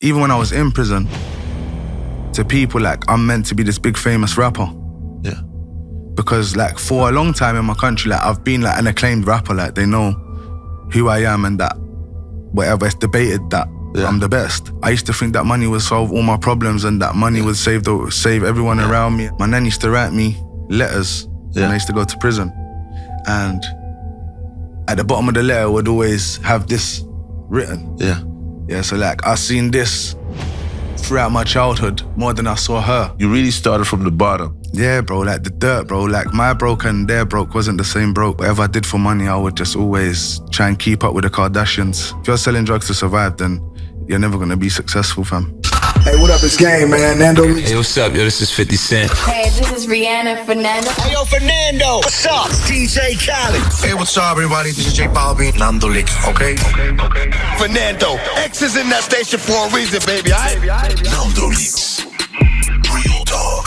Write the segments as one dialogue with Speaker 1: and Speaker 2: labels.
Speaker 1: even when I was in prison, to people like I'm meant to be this big famous rapper
Speaker 2: Yeah.
Speaker 1: because like for a long time in my country, like I've been like an acclaimed rapper. Like they know who I am and that whatever it's debated that
Speaker 2: Yeah.
Speaker 1: I'm the best. I used to think that money would solve all my problems and that money would save the save everyone around me. My nan used to write me letters when
Speaker 2: Yeah.
Speaker 1: I used to go to prison, and at the bottom of the letter would always have this written.
Speaker 2: Yeah.
Speaker 1: Yeah, so like I seen this throughout my childhood more than I saw her.
Speaker 2: You really started from the bottom.
Speaker 1: Yeah, bro, like the dirt, bro. Like my broke and their broke wasn't the same broke. Whatever I did for money, I would just always try and keep up with the Kardashians. If you're selling drugs to survive, then you're never gonna be successful, fam.
Speaker 3: Hey, what up? It's game, man. Nando.
Speaker 4: Hey, what's up, yo? This is 50 Cent.
Speaker 5: Hey, this is Rihanna Fernando.
Speaker 6: Hey, yo, Fernando. What's up? It's TJ Khaled.
Speaker 7: Hey, what's up, everybody? This is J Balvin. Nando Licks, okay? Okay, okay.
Speaker 6: Fernando. X is in that station for a reason, baby. I
Speaker 7: Nando Licks. Real talk.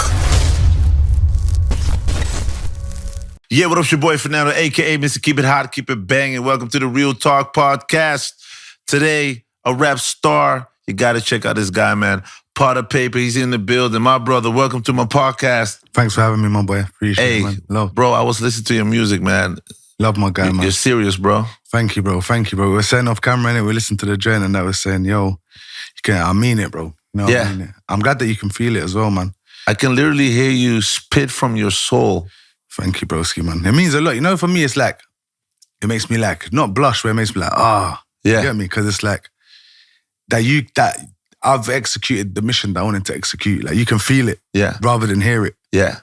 Speaker 2: Yeah, what up, it's your boy Fernando, aka Mr. Keep It Hot, Keep It Banging. Welcome to the Real Talk Podcast. Today, a rap star. You gotta check out this guy, man. Pot of paper, he's in the building. My brother, welcome to my podcast.
Speaker 1: Thanks for having me, my boy. Appreciate
Speaker 2: Hey,
Speaker 1: it, man. Love,
Speaker 2: bro, I was listening to your music, man.
Speaker 1: love my guy, man.
Speaker 2: You're serious, bro.
Speaker 1: Thank you, bro. Thank you, bro. We were saying off camera, and we listened to the joint, and that was saying, "Yo, you can, I mean it, bro. No,
Speaker 2: Yeah.
Speaker 1: I mean it. I'm glad that you can feel it as well, man.
Speaker 2: I can literally hear you spit from your soul.
Speaker 1: Thank you, broski, man. It means a lot. You know, for me, it's like, it makes me like, not blush, but it makes me like, ah,
Speaker 2: Yeah.
Speaker 1: you get me? Because it's like, that you, that I've executed the mission that I wanted to execute. Like, you can feel it
Speaker 2: Yeah,
Speaker 1: rather than hear it.
Speaker 2: yeah.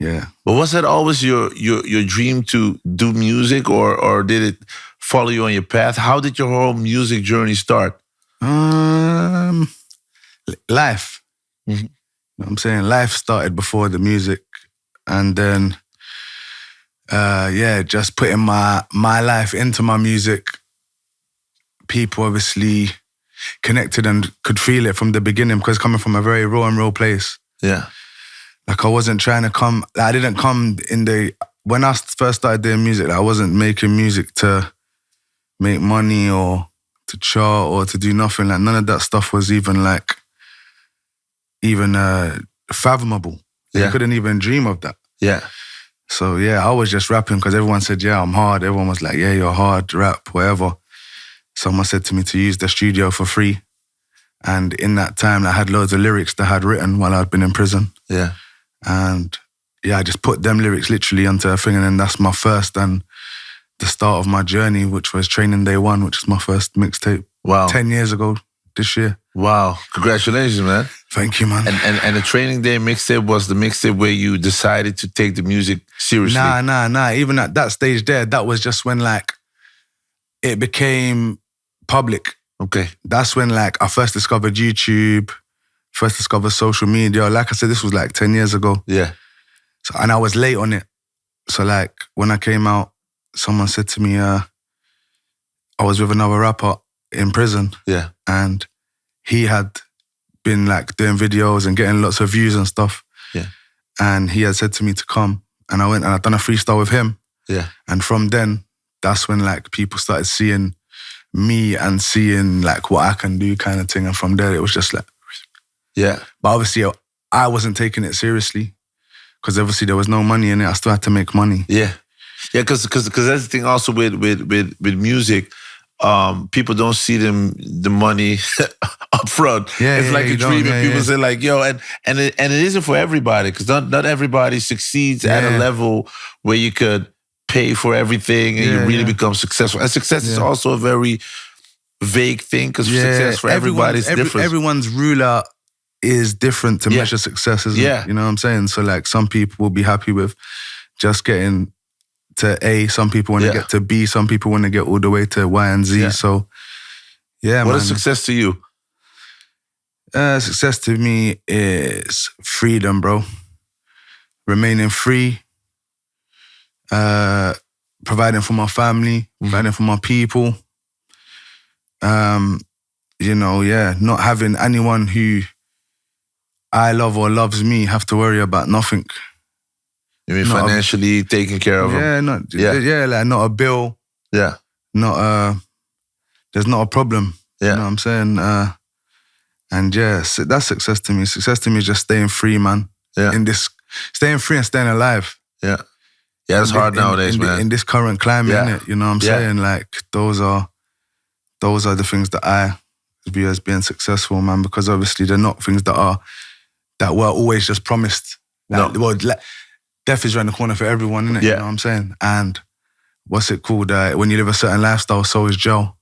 Speaker 1: Yeah.
Speaker 2: But was that always your your your dream to do music, or or did it follow you on your path? How did your whole music journey start?
Speaker 1: Um, li- life. You know what I'm saying? Life started before the music. And then, uh, yeah, just putting my, my life into my music. People obviously connected and could feel it from the beginning because coming from a very raw and real place.
Speaker 2: Yeah,
Speaker 1: Like I wasn't trying to come. Like I didn't come in the when I first started doing music. Like I wasn't making music to make money or to chart or to do nothing. Like none of that stuff was even like even uh fathomable.
Speaker 2: Yeah.
Speaker 1: You couldn't even dream of that.
Speaker 2: yeah,
Speaker 1: So yeah, I was just rapping because everyone said, "Yeah, I'm hard." Everyone was like, "Yeah, you're hard, rap, whatever." Someone said to me to use the studio for free, and in that time, I had loads of lyrics that I had written while I'd been in prison
Speaker 2: yeah,
Speaker 1: and yeah, I just put them lyrics literally onto a thing, and then that's my first and the start of my journey, which was Training Day One, which is my first mixtape
Speaker 2: wow,
Speaker 1: ten years ago this year.
Speaker 2: wow, congratulations, man!
Speaker 1: Thank you, man.
Speaker 2: And and and the training day mixtape was the mixtape where you decided to take the music seriously.
Speaker 1: Nah, nah, nah. Even at that stage, there, that was just when like it became public.
Speaker 2: Okay,
Speaker 1: That's when like I first discovered YouTube, first discovered social media. Like I said, this was like ten years ago.
Speaker 2: yeah,
Speaker 1: So, and I was late on it. So like when I came out, someone said to me, uh, I was with another rapper in prison
Speaker 2: yeah,
Speaker 1: and he had been like doing videos and getting lots of views and stuff.
Speaker 2: Yeah.
Speaker 1: And he had said to me to come. And I went and I done a freestyle with him.
Speaker 2: yeah,
Speaker 1: And from then, that's when like people started seeing me and seeing like what I can do kind of thing. And from there it was just like
Speaker 2: yeah,
Speaker 1: but obviously, I wasn't taking it seriously because obviously there was no money in it. I still had to make money.
Speaker 2: yeah, yeah. Because because because that's the thing also with with with with music. Um, people don't see them the money up front.
Speaker 1: Yeah,
Speaker 2: it's
Speaker 1: yeah,
Speaker 2: like
Speaker 1: you
Speaker 2: a
Speaker 1: don't.
Speaker 2: dream,
Speaker 1: Yeah,
Speaker 2: and people
Speaker 1: yeah.
Speaker 2: say like, "Yo," and and it, and it isn't for everybody because not not everybody succeeds at a
Speaker 1: Yeah.
Speaker 2: level where you could pay for everything and you
Speaker 1: Yeah,
Speaker 2: really
Speaker 1: yeah.
Speaker 2: become successful. And success is
Speaker 1: Yeah.
Speaker 2: also a very vague thing because success for everybody is
Speaker 1: everyone's- every-
Speaker 2: different.
Speaker 1: Everyone's ruler is different to
Speaker 2: Yeah.
Speaker 1: measure success, isn't
Speaker 2: Yeah.
Speaker 1: it? You know what I'm saying? So, like, some people will be happy with just getting to A. Some people want to
Speaker 2: Yeah.
Speaker 1: get to B. Some people want to get all the way to Y and Z.
Speaker 2: Yeah.
Speaker 1: So, yeah,
Speaker 2: what
Speaker 1: man.
Speaker 2: is success to you?
Speaker 1: Uh, success to me is freedom, bro. Remaining free, uh, providing for my family, providing for my people. Um, you know, yeah, not having anyone who I love or loves me have to worry about nothing.
Speaker 2: You mean
Speaker 1: No, I'm-
Speaker 2: financially taken care of? 'em?
Speaker 1: Yeah, not
Speaker 2: Yeah.
Speaker 1: yeah. yeah, like not a bill,
Speaker 2: Yeah,
Speaker 1: not a uh, there's not a problem.
Speaker 2: yeah,
Speaker 1: You know what I'm saying? Uh, And yeah, su- that's success to me. Success to me is just staying free, man.
Speaker 2: Yeah.
Speaker 1: In this, staying free and staying alive.
Speaker 2: Yeah. Yeah, it's
Speaker 1: In-
Speaker 2: hard
Speaker 1: in-
Speaker 2: nowadays,
Speaker 1: in, the-
Speaker 2: man.
Speaker 1: in this current climate,
Speaker 2: Yeah.
Speaker 1: innit? You know what I'm
Speaker 2: Yeah.
Speaker 1: saying? Like those are, those are the things that I view as being successful, man. Because obviously they're not things that are that were always just promised. Like,
Speaker 2: No.
Speaker 1: Well, like, death is around the corner for everyone, innit? You
Speaker 2: Yeah.
Speaker 1: know what I'm saying? And what's it called? Uh, when you live a certain lifestyle, so is Joe.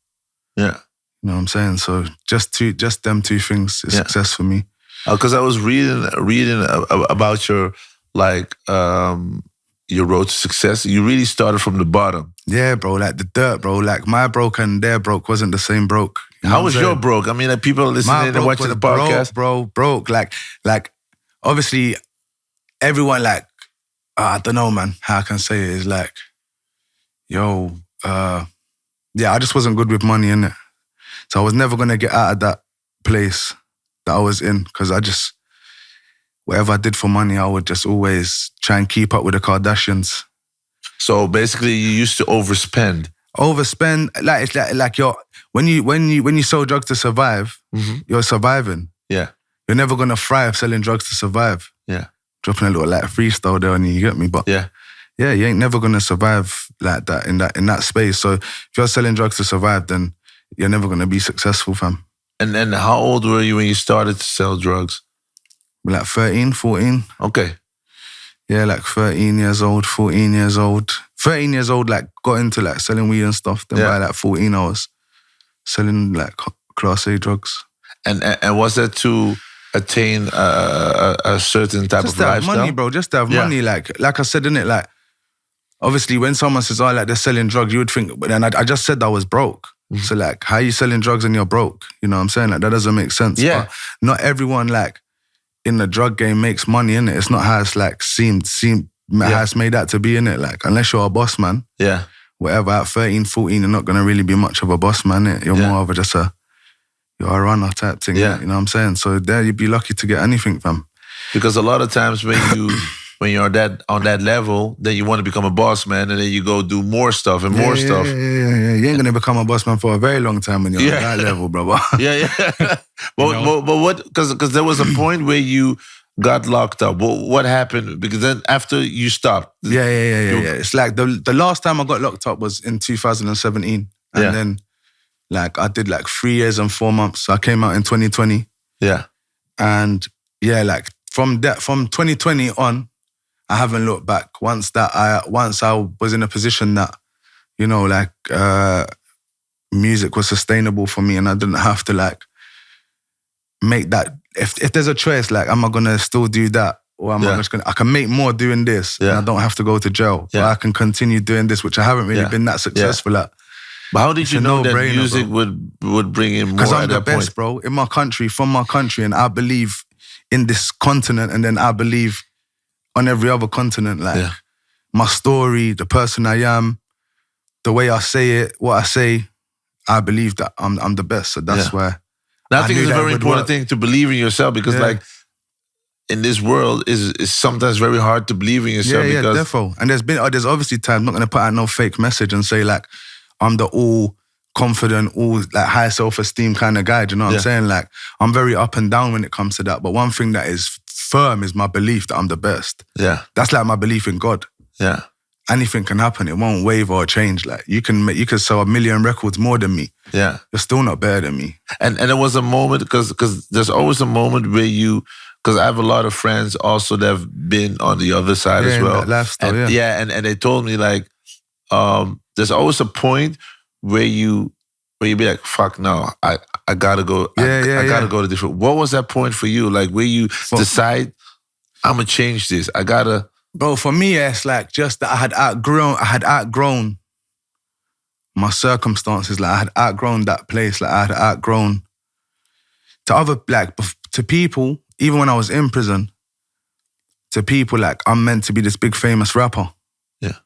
Speaker 2: yeah.
Speaker 1: You know what I'm saying? So just two, just them two things is
Speaker 2: Yeah.
Speaker 1: success for me.
Speaker 2: because Uh, I was reading reading a- a- about your like um your road to success. You really started from the bottom.
Speaker 1: Yeah, bro. Like the dirt, bro. Like my broke and their broke wasn't the same broke. You know
Speaker 2: How
Speaker 1: what
Speaker 2: was
Speaker 1: I'm
Speaker 2: your
Speaker 1: saying?
Speaker 2: broke? I mean, like people
Speaker 1: My
Speaker 2: listening and
Speaker 1: broke
Speaker 2: watching
Speaker 1: was
Speaker 2: the podcast.
Speaker 1: bro, bro, broke. Like, like obviously, everyone like I don't know, man. How I can say it is like, yo, uh, yeah. I just wasn't good with money in it, so I was never gonna get out of that place that I was in because I just whatever I did for money, I would just always try and keep up with the Kardashians.
Speaker 2: So basically, you used to overspend.
Speaker 1: overspend like it's like like you're when you when you when you sell drugs to survive you're surviving
Speaker 2: Mm-hmm. Yeah,
Speaker 1: you're never gonna thrive selling drugs to survive
Speaker 2: yeah,
Speaker 1: dropping a little like freestyle there on you you get me but
Speaker 2: yeah,
Speaker 1: yeah you ain't never gonna survive like that in that in that space so if you're selling drugs to survive then you're never gonna be successful fam
Speaker 2: and and how old were you when you started to sell drugs?
Speaker 1: like 13 14
Speaker 2: Okay,
Speaker 1: yeah like 13 years old 14 years old 13 years old like got into like selling weed and stuff then by
Speaker 2: Yeah.
Speaker 1: like 14 I was selling like class A drugs
Speaker 2: and and, and was that to attain a, a, a certain type
Speaker 1: just
Speaker 2: of
Speaker 1: to have
Speaker 2: lifestyle?
Speaker 1: money, bro. Just to have
Speaker 2: Yeah.
Speaker 1: money, like like I said, innit? Like obviously, when someone says, "Oh, like they're selling drugs," you would think, but then I, I just said I was broke.
Speaker 2: Mm-hmm.
Speaker 1: So like, how you selling drugs and you're broke? You know what I'm saying? Like that doesn't make sense.
Speaker 2: Yeah.
Speaker 1: But not everyone like in the drug game makes money in it. It's not how it's like seemed seemed how it's made out to be in it. Like unless you're a boss man,
Speaker 2: Yeah,
Speaker 1: whatever. At 13, 14, you're not gonna really be much of a boss man. Innit? You're
Speaker 2: Yeah.
Speaker 1: more of a just a you're a runner type thing.
Speaker 2: Yeah.
Speaker 1: You know what I'm saying? So there you'd be lucky to get anything, fam.
Speaker 2: because a lot of times when you when you're that on that level, then you want to become a boss man, and then you go do more stuff and more
Speaker 1: yeah,
Speaker 2: stuff.
Speaker 1: Yeah, yeah, yeah, yeah. You ain't gonna become a boss man for a very long time when you're
Speaker 2: Yeah.
Speaker 1: at that level, brother.
Speaker 2: Yeah, yeah. but, but but what? Because because there was a point where you got locked up. What what happened? Because then after you stopped,
Speaker 1: yeah, yeah, yeah, yeah, yeah. It's like the the last time I got locked up was in 2017, and
Speaker 2: Yeah.
Speaker 1: then like I did like three years and four months. So I came out in 2020,
Speaker 2: yeah,
Speaker 1: and yeah, like from that from 2020 on, I haven't looked back. Once that I once I was in a position that you know like uh music was sustainable for me, and I didn't have to like make that. If if there's a choice, like am I gonna still do that? Or am I
Speaker 2: Yeah.
Speaker 1: just gonna? I can make more doing this, and
Speaker 2: Yeah.
Speaker 1: I don't have to go to jail. But
Speaker 2: Yeah.
Speaker 1: I can continue doing this, which I haven't really
Speaker 2: Yeah.
Speaker 1: been that successful at.
Speaker 2: but how did
Speaker 1: It's
Speaker 2: you
Speaker 1: a
Speaker 2: know that
Speaker 1: no-brainer,
Speaker 2: music
Speaker 1: bro.
Speaker 2: would would bring in more
Speaker 1: Because
Speaker 2: at
Speaker 1: I'm the
Speaker 2: that
Speaker 1: best,
Speaker 2: point?
Speaker 1: bro, in my country, from my country, and I believe in this continent, and then I believe on every other continent. Like
Speaker 2: Yeah.
Speaker 1: my story, the person I am, the way I say it, what I say, I believe that I'm I'm the best. So that's
Speaker 2: Yeah.
Speaker 1: why.
Speaker 2: Now, I
Speaker 1: I
Speaker 2: think
Speaker 1: knew
Speaker 2: it's a
Speaker 1: that
Speaker 2: very
Speaker 1: would work.
Speaker 2: important thing to believe in yourself because
Speaker 1: Yeah.
Speaker 2: like in this world is is sometimes very hard to believe in yourself
Speaker 1: yeah,
Speaker 2: because
Speaker 1: yeah, defo. And there's been oh, there's obviously times I'm not gonna put out no fake message and say like I'm the all confident, all like high self esteem kind of guy. Do you know what
Speaker 2: Yeah.
Speaker 1: I'm saying? Like I'm very up and down when it comes to that. But one thing that is firm is my belief that I'm the best.
Speaker 2: yeah,
Speaker 1: That's like my belief in God.
Speaker 2: yeah,
Speaker 1: Anything can happen. It won't waver or change. Like you can make, you can sell a million records more than me.
Speaker 2: yeah.
Speaker 1: You're still not better than me.
Speaker 2: and and there was a moment because because there's always a moment where you because I have a lot of friends also that have been on the other side
Speaker 1: Yeah,
Speaker 2: as
Speaker 1: in
Speaker 2: well.
Speaker 1: that lifestyle, Oh,
Speaker 2: And-
Speaker 1: yeah.
Speaker 2: and and they told me like, um, there's always a point where you where you be like, fuck no, I I gotta go, I-
Speaker 1: Yeah,
Speaker 2: I,
Speaker 1: yeah,
Speaker 2: gotta
Speaker 1: yeah.
Speaker 2: go to different. What was that point for you? Like where you decide, I'm gonna change this. I gotta,
Speaker 1: Bro, for me, yeah, it's like just that I had outgrown, I had outgrown my circumstances. Like I had outgrown that place. Like I had outgrown to other like bef- to people. Even when I was in prison, to people like I'm meant to be this big famous rapper.
Speaker 2: Yeah.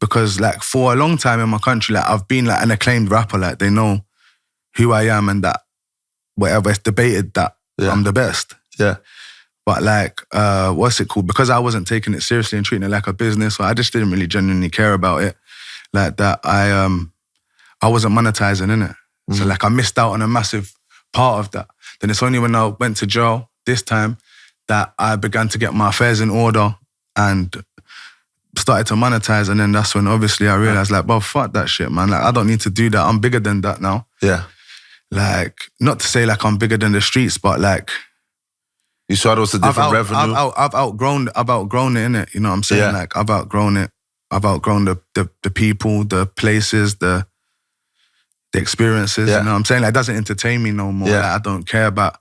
Speaker 1: Because like for a long time in my country, like I've been like an acclaimed rapper. Like they know who I am and that whatever. It's debated that
Speaker 2: Yeah.
Speaker 1: I'm the best.
Speaker 2: yeah,
Speaker 1: But like, uh, what's it called? Because I wasn't taking it seriously and treating it like a business, or I just didn't really genuinely care about it. Like that, I um, I wasn't monetizing in it, so like I missed out on a massive part of that. Then it's only when I went to jail this time that I began to get my affairs in order and started to monetize. And then that's when obviously I realized, like, bro, fuck that shit, man. Like, I don't need to do that. I'm bigger than that now.
Speaker 2: Yeah.
Speaker 1: Like, not to say like I'm bigger than the streets, but like
Speaker 2: You saw there was a
Speaker 1: I've,
Speaker 2: different
Speaker 1: out-
Speaker 2: revenue.
Speaker 1: I've, out- I've outgrown I've outgrown it, innit? You know what I'm saying?
Speaker 2: Yeah.
Speaker 1: Like I've outgrown it. I've outgrown the the, the people, the places, the the experiences.
Speaker 2: Yeah.
Speaker 1: You know what I'm saying? Like it doesn't entertain me no more.
Speaker 2: Yeah.
Speaker 1: Like, I don't care about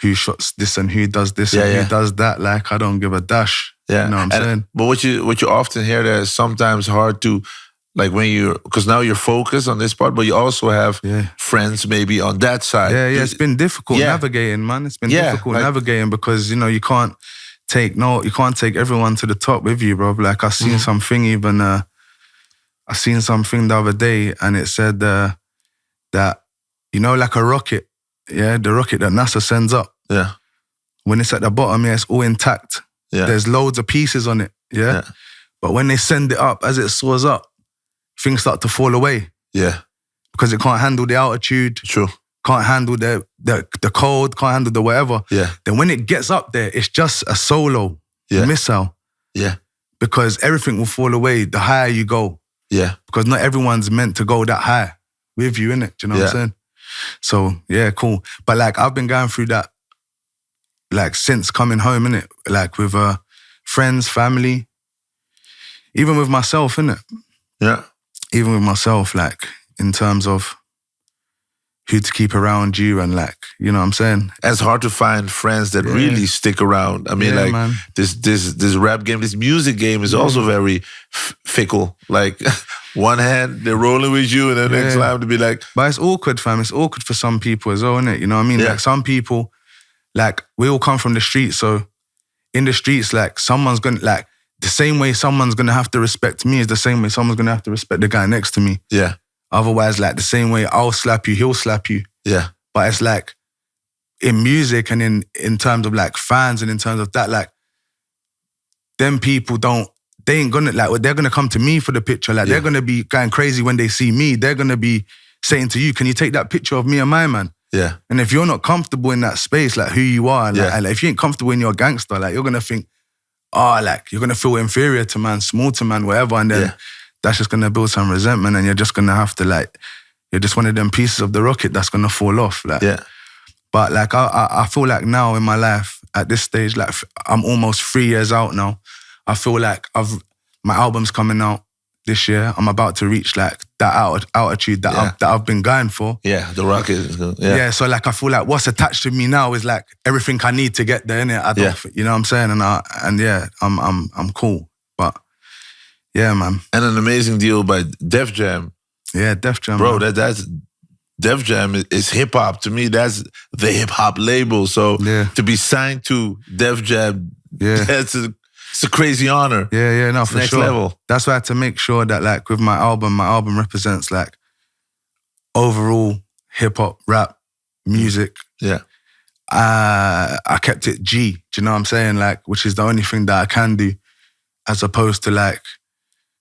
Speaker 1: who shots this and who does this
Speaker 2: Yeah,
Speaker 1: and
Speaker 2: yeah.
Speaker 1: who does that. Like I don't give a dash.
Speaker 2: Yeah,
Speaker 1: You know what I'm
Speaker 2: And-
Speaker 1: saying?
Speaker 2: But what you what you often hear that is sometimes hard to like when you because now you're focused on this part, but you also have
Speaker 1: Yeah.
Speaker 2: friends maybe on that side.
Speaker 1: Yeah, yeah. It's been difficult
Speaker 2: Yeah.
Speaker 1: navigating, man. It's been
Speaker 2: Yeah,
Speaker 1: difficult
Speaker 2: like-
Speaker 1: navigating because you know you can't take no, you can't take everyone to the top with you, bro. Like I
Speaker 2: Mm-hmm.
Speaker 1: seen something even, uh, I seen something the other day, and it said uh, that you know, like a rocket, yeah, the rocket that NASA sends up
Speaker 2: yeah,
Speaker 1: when it's at the bottom, yeah, it's all intact.
Speaker 2: yeah.
Speaker 1: There's loads of pieces on it, yeah?
Speaker 2: Yeah.
Speaker 1: But when they send it up, as it soars up, things start to fall away
Speaker 2: yeah,
Speaker 1: because it can't handle the altitude
Speaker 2: true.
Speaker 1: can't handle the, the the cold, can't handle the whatever.
Speaker 2: Yeah,
Speaker 1: Then when it gets up there, it's just a solo
Speaker 2: Yeah.
Speaker 1: missile
Speaker 2: yeah,
Speaker 1: because everything will fall away the higher you go
Speaker 2: yeah.
Speaker 1: because not everyone's meant to go that high with you in it. Do you know what I'm
Speaker 2: Yeah.
Speaker 1: saying? So yeah, cool. But like I've been going through that like since coming home in it, like with uh, friends, family, even with myself in it
Speaker 2: Yeah,
Speaker 1: even with myself, like in terms of who to keep around you and like, you know what I'm saying?
Speaker 2: And it's hard to find friends that really stick around. I mean,
Speaker 1: Yeah,
Speaker 2: like
Speaker 1: man.
Speaker 2: this, this, this rap game, this music game is also very f- fickle. Like one hand they're rolling with you, and the next
Speaker 1: Yeah.
Speaker 2: time to be like,
Speaker 1: But it's awkward, fam. It's awkward for some people as well, isn't it? You know what I mean?
Speaker 2: Yeah.
Speaker 1: Like some people, like we all come from the streets, so in the streets, like someone's gonna like the same way someone's gonna have to respect me is the same way someone's gonna have to respect the guy next to me.
Speaker 2: yeah,
Speaker 1: Otherwise, like the same way I'll slap you, he'll slap you.
Speaker 2: yeah,
Speaker 1: But it's like in music and in in terms of like fans and in terms of that, like them people don't they ain't gonna like well, they're gonna come to me for the picture. Like
Speaker 2: Yeah.
Speaker 1: they're gonna be going crazy when they see me. They're gonna be saying to you, "Can you take that picture of me and my man?"
Speaker 2: yeah,
Speaker 1: And if you're not comfortable in that space, like who you are, like,
Speaker 2: Yeah.
Speaker 1: and if you ain't comfortable in your gangster, like you're gonna think, oh, like you're gonna feel inferior to man, small to man, whatever, and then
Speaker 2: Yeah.
Speaker 1: that's just gonna build some resentment, and you're just gonna have to like, you're just one of them pieces of the rocket that's gonna fall off, like.
Speaker 2: yeah,
Speaker 1: But like I, I, I feel like now in my life at this stage, like f- I'm almost three years out now. I feel like I've my album's coming out this year. I'm about to reach like that out, altitude that
Speaker 2: Yeah.
Speaker 1: I've, that I've been going for.
Speaker 2: yeah. The rocket, is gonna-
Speaker 1: Yeah.
Speaker 2: yeah,
Speaker 1: So like I feel like what's attached to me now is like everything I need to get there. Innit? I don't,
Speaker 2: Yeah.
Speaker 1: f- you know what I'm saying? And I and yeah, I'm I'm I'm cool. But yeah, man.
Speaker 2: and an amazing deal by Def Jam.
Speaker 1: Yeah, Def Jam.
Speaker 2: bro.
Speaker 1: man.
Speaker 2: That that's Def Jam is, is hip hop to me. That's the hip hop label. So
Speaker 1: Yeah.
Speaker 2: to be signed to Def Jam,
Speaker 1: Yeah.
Speaker 2: that's a it's a crazy honor.
Speaker 1: Yeah, yeah, no, for
Speaker 2: next
Speaker 1: sure.
Speaker 2: level.
Speaker 1: That's why I had to make sure that like with my album, my album represents like overall hip hop, rap, music.
Speaker 2: Yeah.
Speaker 1: Uh, I kept it G. Do you know what I'm saying? Like, which is the only thing that I can do, as opposed to like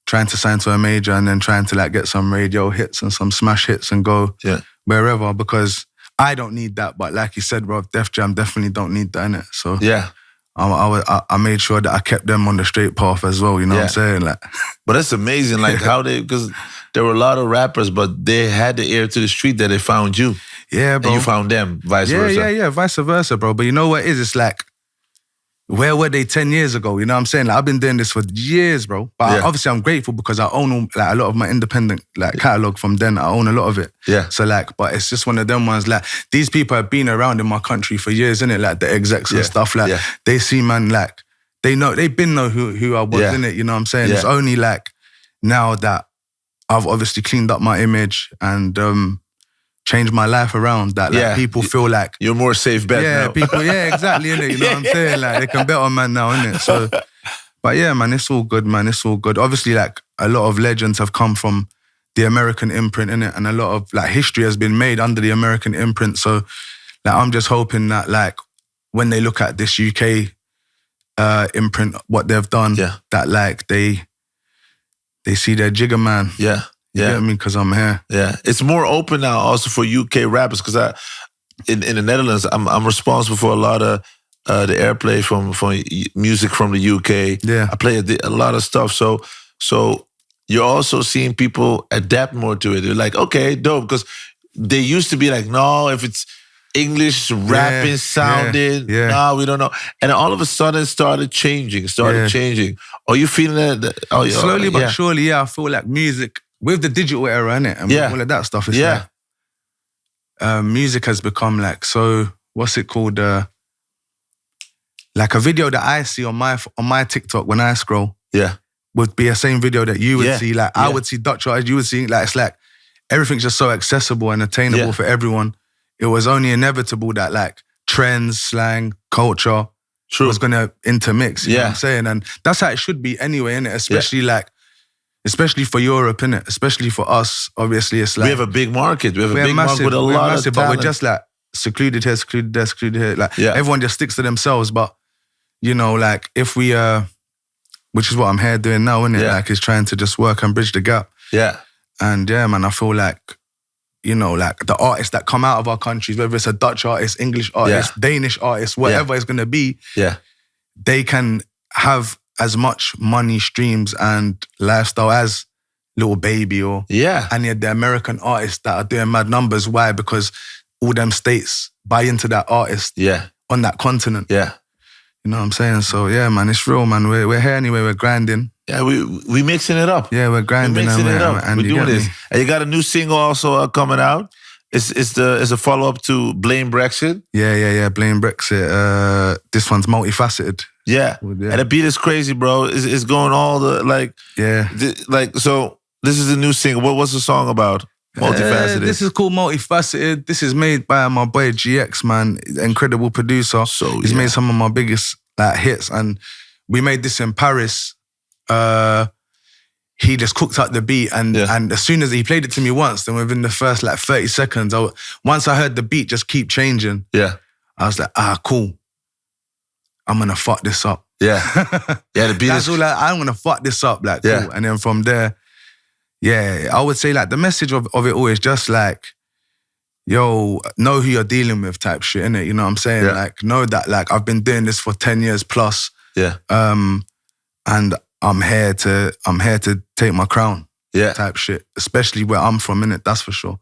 Speaker 1: trying to sign to a major and then trying to like get some radio hits and some smash hits and go
Speaker 2: Yeah.
Speaker 1: wherever because I don't need that. But like you said, bro, Def Jam definitely don't need that innit? So
Speaker 2: Yeah,
Speaker 1: I, I, was- I- I made sure that I kept them on the straight path as well. You know
Speaker 2: Yeah.
Speaker 1: what I'm saying? Like,
Speaker 2: but that's amazing. Like how they because there were a lot of rappers, but they had the ear to the street that they found you
Speaker 1: yeah,
Speaker 2: and
Speaker 1: bro.
Speaker 2: you found them, vice
Speaker 1: yeah,
Speaker 2: versa.
Speaker 1: yeah, yeah. Vice versa, bro. But you know what it is? It's like, where were they ten years ago? You know what I'm saying? Like, I've been doing this for years, bro. But I-
Speaker 2: Yeah.
Speaker 1: obviously, I'm grateful because I own all, like a lot of my independent like catalog from then. I own a lot of it.
Speaker 2: Yeah.
Speaker 1: So like, but it's just one of them ones. Like these people have been around in my country for years, innit? Like the execs
Speaker 2: Yeah,
Speaker 1: and stuff. Like
Speaker 2: yeah.
Speaker 1: they see man like they know they've been know who who I was
Speaker 2: Yeah.
Speaker 1: in it. You know what I'm saying? It's
Speaker 2: Yeah.
Speaker 1: only like now that I've obviously cleaned up my image and um changed my life around that like
Speaker 2: Yeah.
Speaker 1: people feel like
Speaker 2: You're more safe bet
Speaker 1: yeah,
Speaker 2: now.
Speaker 1: people, yeah, exactly, innit? You know what I'm saying? Like they can bet on man now, innit? So but yeah, man, it's all good, man. It's all good. Obviously, like a lot of legends have come from the American imprint, innit? And a lot of like history has been made under the American imprint. So like I'm just hoping that like when they look at this UK uh imprint, what they've done,
Speaker 2: Yeah.
Speaker 1: that like they they see their jigger man.
Speaker 2: yeah,
Speaker 1: You
Speaker 2: yeah.
Speaker 1: get me? Cause I'm here.
Speaker 2: Yeah, it's more open now also for UK rappers because I in, in the Netherlands, I'm I'm responsible for a lot of uh, the airplay from from y- music from the UK.
Speaker 1: Yeah.
Speaker 2: I play a, di- a lot of stuff. So so you're also seeing people adapt more to it. They're like, okay, dope, because they used to be like, no, if it's English rapping
Speaker 1: yeah,
Speaker 2: sounded,
Speaker 1: yeah.
Speaker 2: nah, we don't know. And all of a sudden, it started changing, started
Speaker 1: Yeah.
Speaker 2: changing. Are you feeling that? that- Oh, yeah,
Speaker 1: Slowly but
Speaker 2: yeah.
Speaker 1: surely, yeah, I feel like music with the digital era in it and
Speaker 2: Yeah.
Speaker 1: with all of that stuff. It's
Speaker 2: Yeah.
Speaker 1: like, uh, music has become like so. What's it called? Uh, like a video that I see on my on my TikTok when I scroll
Speaker 2: Yeah.
Speaker 1: would be a same video that you would
Speaker 2: Yeah.
Speaker 1: see. Like I
Speaker 2: Yeah.
Speaker 1: would see Dutch artists, you would see. Like it's like everything's just so accessible and attainable
Speaker 2: Yeah.
Speaker 1: for everyone. It was only inevitable that like trends, slang, culture
Speaker 2: True.
Speaker 1: was going to intermix. You know
Speaker 2: Yeah.
Speaker 1: what I'm saying? And that's how it should be anyway, innit? Especially like, especially for Europe, innit? Especially for us, obviously, it's like,
Speaker 2: we have a big market. We have
Speaker 1: we're
Speaker 2: a big market with a
Speaker 1: we're
Speaker 2: lot of talent.
Speaker 1: but we're just like secluded here, secluded there, secluded here. Like
Speaker 2: Yeah.
Speaker 1: everyone just sticks to themselves. But, you know, like if we, uh which is what I'm here doing now, innit?
Speaker 2: Yeah.
Speaker 1: Like is trying to just work and bridge the gap.
Speaker 2: yeah,
Speaker 1: And yeah, man, I feel like, you know, like the artists that come out of our countries, whether it's a Dutch artist, English artist, Danish artist, whatever it's gonna be,
Speaker 2: yeah,
Speaker 1: they can have as much money streams and lifestyle as Little Baby or
Speaker 2: yeah.
Speaker 1: any of the American artists that are doing mad numbers. Why? Because all them states buy into that artist
Speaker 2: Yeah,
Speaker 1: on that continent.
Speaker 2: yeah,
Speaker 1: You know what I'm saying? So yeah, man, it's real, man. We're, we're here anyway. We're grinding.
Speaker 2: yeah. We we mixing it up.
Speaker 1: Yeah, we're
Speaker 2: we
Speaker 1: grinding.
Speaker 2: mixing
Speaker 1: and
Speaker 2: it
Speaker 1: we're,
Speaker 2: up.
Speaker 1: And
Speaker 2: We're
Speaker 1: you
Speaker 2: doing
Speaker 1: get
Speaker 2: this,
Speaker 1: me?
Speaker 2: and you got a new single also uh, coming out. It's it's the it's a follow up to Blame Brexit.
Speaker 1: Yeah, yeah, yeah. Blame Brexit. Uh, this one's multifaceted.
Speaker 2: Yeah,
Speaker 1: Well, yeah.
Speaker 2: and the beat is crazy, bro. It's, it's going all the like
Speaker 1: Yeah.
Speaker 2: the, like so. This is the new single. What what's the song about? Multifaceted.
Speaker 1: Uh, this is called Multifaceted. This is made by my boy GX, man, incredible producer.
Speaker 2: So,
Speaker 1: he's
Speaker 2: yeah.
Speaker 1: made some of my biggest like hits, and we made this in Paris. Uh, he just cooked up the beat, and
Speaker 2: Yeah.
Speaker 1: and as soon as he played it to me once, then within the first like thirty seconds, I w- once I heard the beat just keep changing,
Speaker 2: yeah,
Speaker 1: I was like, ah, cool. I'm gonna fuck this up.
Speaker 2: yeah, yeah. The beat
Speaker 1: That's
Speaker 2: is
Speaker 1: all. I, I'm gonna fuck this up, like,
Speaker 2: Yeah.
Speaker 1: cool. And then from there, yeah, I would say like the message of, of it all is just like, yo, know who you're dealing with, type shit, innit? You know what I'm saying?
Speaker 2: Yeah.
Speaker 1: Like, know that like I've been doing this for ten years plus,
Speaker 2: yeah,
Speaker 1: um, and I'm here to I'm here to take my crown,
Speaker 2: yeah.
Speaker 1: type shit. Especially where I'm from, innit? That's for sure.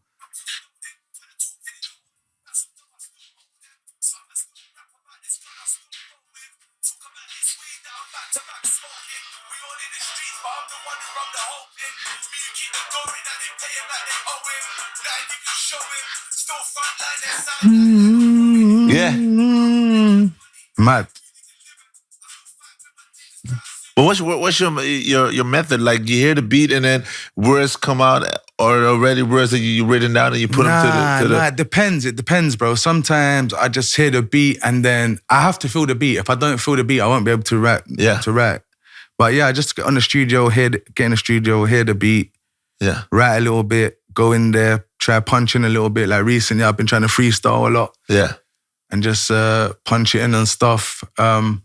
Speaker 2: Yeah,
Speaker 1: Mad.
Speaker 2: but what's what- what's your your your method? Like you hear the beat and then words come out, or already words that you you written down and you put
Speaker 1: nah,
Speaker 2: them to the to the.
Speaker 1: nah, it depends. It depends, bro. Sometimes I just hear the beat and then I have to feel the beat. If I don't feel the beat, I won't be able to write.
Speaker 2: Yeah.
Speaker 1: To write. But yeah, I just get on the studio, hear the, get in the studio, hear the beat,
Speaker 2: Yeah,
Speaker 1: write a little bit, go in there, try punching a little bit. Like recently, I've been trying to freestyle a lot
Speaker 2: yeah,
Speaker 1: and just uh, punch it in and stuff. Um,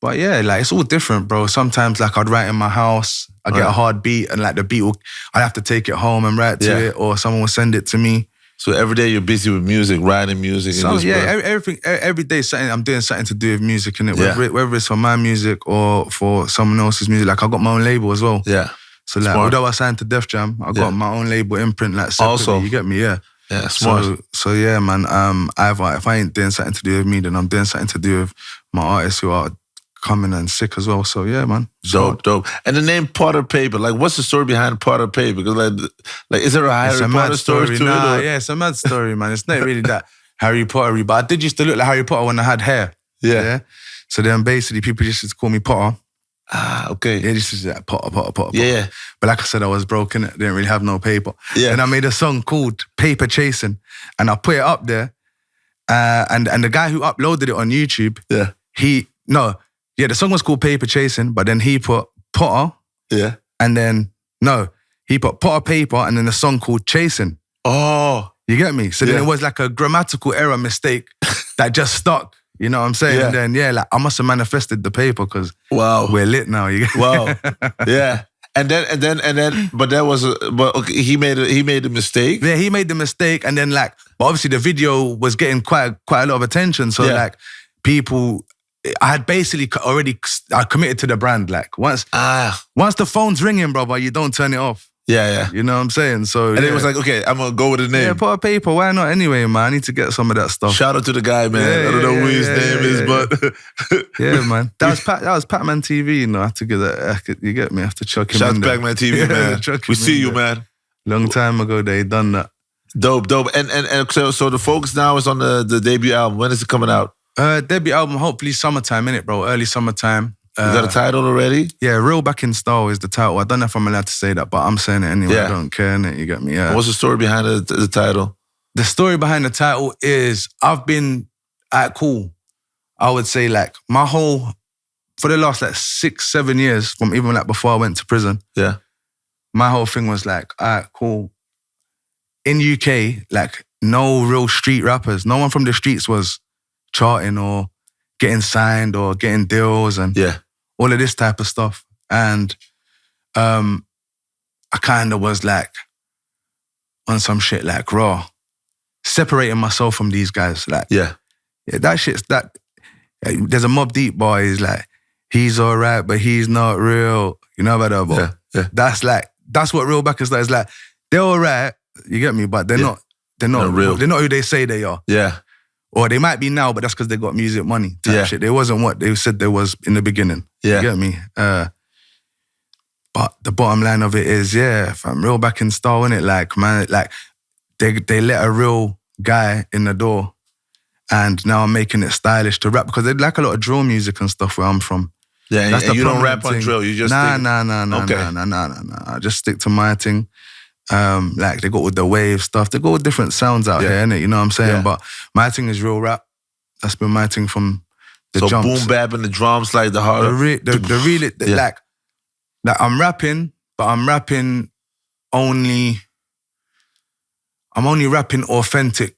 Speaker 1: but yeah, like it's all different, bro. Sometimes like I'd write in my house, I get
Speaker 2: Right.
Speaker 1: a hard beat, and like the beat, will, I'd have to take it home and write to
Speaker 2: Yeah.
Speaker 1: it, or someone will send it to me.
Speaker 2: So every day you're busy with music, writing music.
Speaker 1: So,
Speaker 2: and this,
Speaker 1: yeah,
Speaker 2: bro.
Speaker 1: every, everything e- every day something I'm doing something to do with music in it.
Speaker 2: Yeah.
Speaker 1: Whether, whether it's for my music or for someone else's music. Like I got my own label as well.
Speaker 2: yeah,
Speaker 1: So like,
Speaker 2: Smart.
Speaker 1: although I signed to Def Jam, I
Speaker 2: Yeah.
Speaker 1: got my own label imprint. Like separately,
Speaker 2: Also.
Speaker 1: you get me, yeah.
Speaker 2: yeah, smart.
Speaker 1: So, so yeah, man. Um, either if I ain't doing something to do with me, then I'm doing something to do with my artists who are coming and sick as well. So yeah, man.
Speaker 2: dope, dope. And the name Potter Paper, like, what's the story behind Potter Paper? Because like, like, is there a Harry
Speaker 1: It's a
Speaker 2: Potter
Speaker 1: mad
Speaker 2: story,
Speaker 1: story.
Speaker 2: to
Speaker 1: Nah,
Speaker 2: it? or-
Speaker 1: yeah, it's a mad story, man. It's not really that Harry Pottery, but I did used to look like Harry Potter when I had hair.
Speaker 2: Yeah.
Speaker 1: So then basically people just used to call me Potter.
Speaker 2: Ah, okay.
Speaker 1: Yeah, this is that Potter, Potter, Potter.
Speaker 2: Yeah,
Speaker 1: Potter.
Speaker 2: yeah.
Speaker 1: But like I said, I was broken. I didn't really have no paper.
Speaker 2: Yeah.
Speaker 1: And I made a song called Paper Chasing, and I put it up there. Uh, and and the guy who uploaded it on YouTube,
Speaker 2: Yeah.
Speaker 1: he no, yeah, the song was called Paper Chasing, but then he put Potter,
Speaker 2: yeah.
Speaker 1: and then no, he put Potter Paper, and then the song called Chasing.
Speaker 2: Oh,
Speaker 1: You get me? So
Speaker 2: Yeah.
Speaker 1: then it was like a grammatical error mistake that just stuck. You know what I'm saying?
Speaker 2: Yeah. Oh.
Speaker 1: And then yeah, like I must have manifested the paper because
Speaker 2: wow,
Speaker 1: we're lit now. You get
Speaker 2: wow, yeah. And then, and then, and then, but that was, a, but okay, he made a, he made a mistake.
Speaker 1: Yeah, he made the mistake, and then like But obviously, the video was getting quite quite a lot of attention. So
Speaker 2: Yeah.
Speaker 1: like, people, I had basically co- already I committed to the brand. Like once
Speaker 2: Ah,
Speaker 1: once the phone's ringing, brother, you don't turn it off.
Speaker 2: yeah, yeah.
Speaker 1: You know what I'm saying? So
Speaker 2: And
Speaker 1: yeah.
Speaker 2: it was like, okay, I'm gonna go with the
Speaker 1: yeah,
Speaker 2: name.
Speaker 1: put a paper. Why not? Anyway, man, I need to get some of that stuff.
Speaker 2: Shout out to the guy, man.
Speaker 1: Yeah,
Speaker 2: I don't know
Speaker 1: yeah,
Speaker 2: who
Speaker 1: yeah,
Speaker 2: his
Speaker 1: yeah,
Speaker 2: name
Speaker 1: yeah,
Speaker 2: is,
Speaker 1: yeah.
Speaker 2: but
Speaker 1: Yeah, man. That was Pat, that was Pac-Man TV. You know, I have to get that. I could- you get me? I have to chuck him.
Speaker 2: shout out to
Speaker 1: in there.
Speaker 2: Pac-Man TV,
Speaker 1: Yeah,
Speaker 2: man.
Speaker 1: chuck him
Speaker 2: We
Speaker 1: in
Speaker 2: see you,
Speaker 1: there.
Speaker 2: man.
Speaker 1: Long time ago, they done that.
Speaker 2: Dope, dope. And and, and so, so the focus now is on the, the debut album. When is it coming out?
Speaker 1: Uh, debut album, hopefully summertime, innit, bro? Early summertime.
Speaker 2: You got
Speaker 1: Uh,
Speaker 2: a title already?
Speaker 1: yeah, real back in style is the title. I don't know if I'm allowed to say that, but I'm saying it anyway.
Speaker 2: Yeah.
Speaker 1: I don't care, innit? You get me? Yeah.
Speaker 2: What's the story behind the, the title?
Speaker 1: the story behind the title is I've been at cool. I would say like my whole for the last like six, seven years, from even like before I went to prison,
Speaker 2: Yeah.
Speaker 1: my whole thing was like, all right, cool. In UK, like no real street rappers, no one from the streets was charting or getting signed or getting deals and
Speaker 2: Yeah.
Speaker 1: all of this type of stuff. And um, I kind of was like on some shit like raw, separating myself from these guys. Like
Speaker 2: Yeah.
Speaker 1: yeah, that shit's that. yeah, There's a Mob Deep boy. He's like, he's all right, but he's not real. You know about that, boy.
Speaker 2: Yeah, yeah.
Speaker 1: That's like that's what real backers like. It's like they're all right. You get me? But they're
Speaker 2: Yeah.
Speaker 1: not. They're not
Speaker 2: Not real.
Speaker 1: They're not who they say they are.
Speaker 2: Yeah.
Speaker 1: Or they might be now, but that's because they got music money. Type
Speaker 2: Yeah.
Speaker 1: shit. They wasn't what they said they was in the beginning.
Speaker 2: Yeah.
Speaker 1: You get me? Uh, but the bottom line of it is, yeah, fam, real back in style, innit? Like, man, like they they let a real guy in the door and now I'm making it stylish to rap because they like a lot of drill music and stuff where I'm from.
Speaker 2: Yeah. And,
Speaker 1: That's
Speaker 2: and
Speaker 1: the
Speaker 2: you don't
Speaker 1: prominent
Speaker 2: rap on
Speaker 1: thing.
Speaker 2: drill. You just
Speaker 1: nah,
Speaker 2: think-
Speaker 1: nah, nah, nah,
Speaker 2: Okay.
Speaker 1: nah, nah, nah, nah, nah. I just stick to my thing. Um, like they go with the wave stuff. They go with different sounds out
Speaker 2: Yeah.
Speaker 1: here, innit? You know what I'm saying?
Speaker 2: Yeah.
Speaker 1: But my thing is real rap. That's been my thing from the
Speaker 2: so
Speaker 1: jumps.
Speaker 2: boom bap and the drums like the
Speaker 1: the
Speaker 2: harder.
Speaker 1: re- the, the really the,
Speaker 2: Yeah.
Speaker 1: like like I'm rapping, but I'm rapping only. I'm only rapping authentic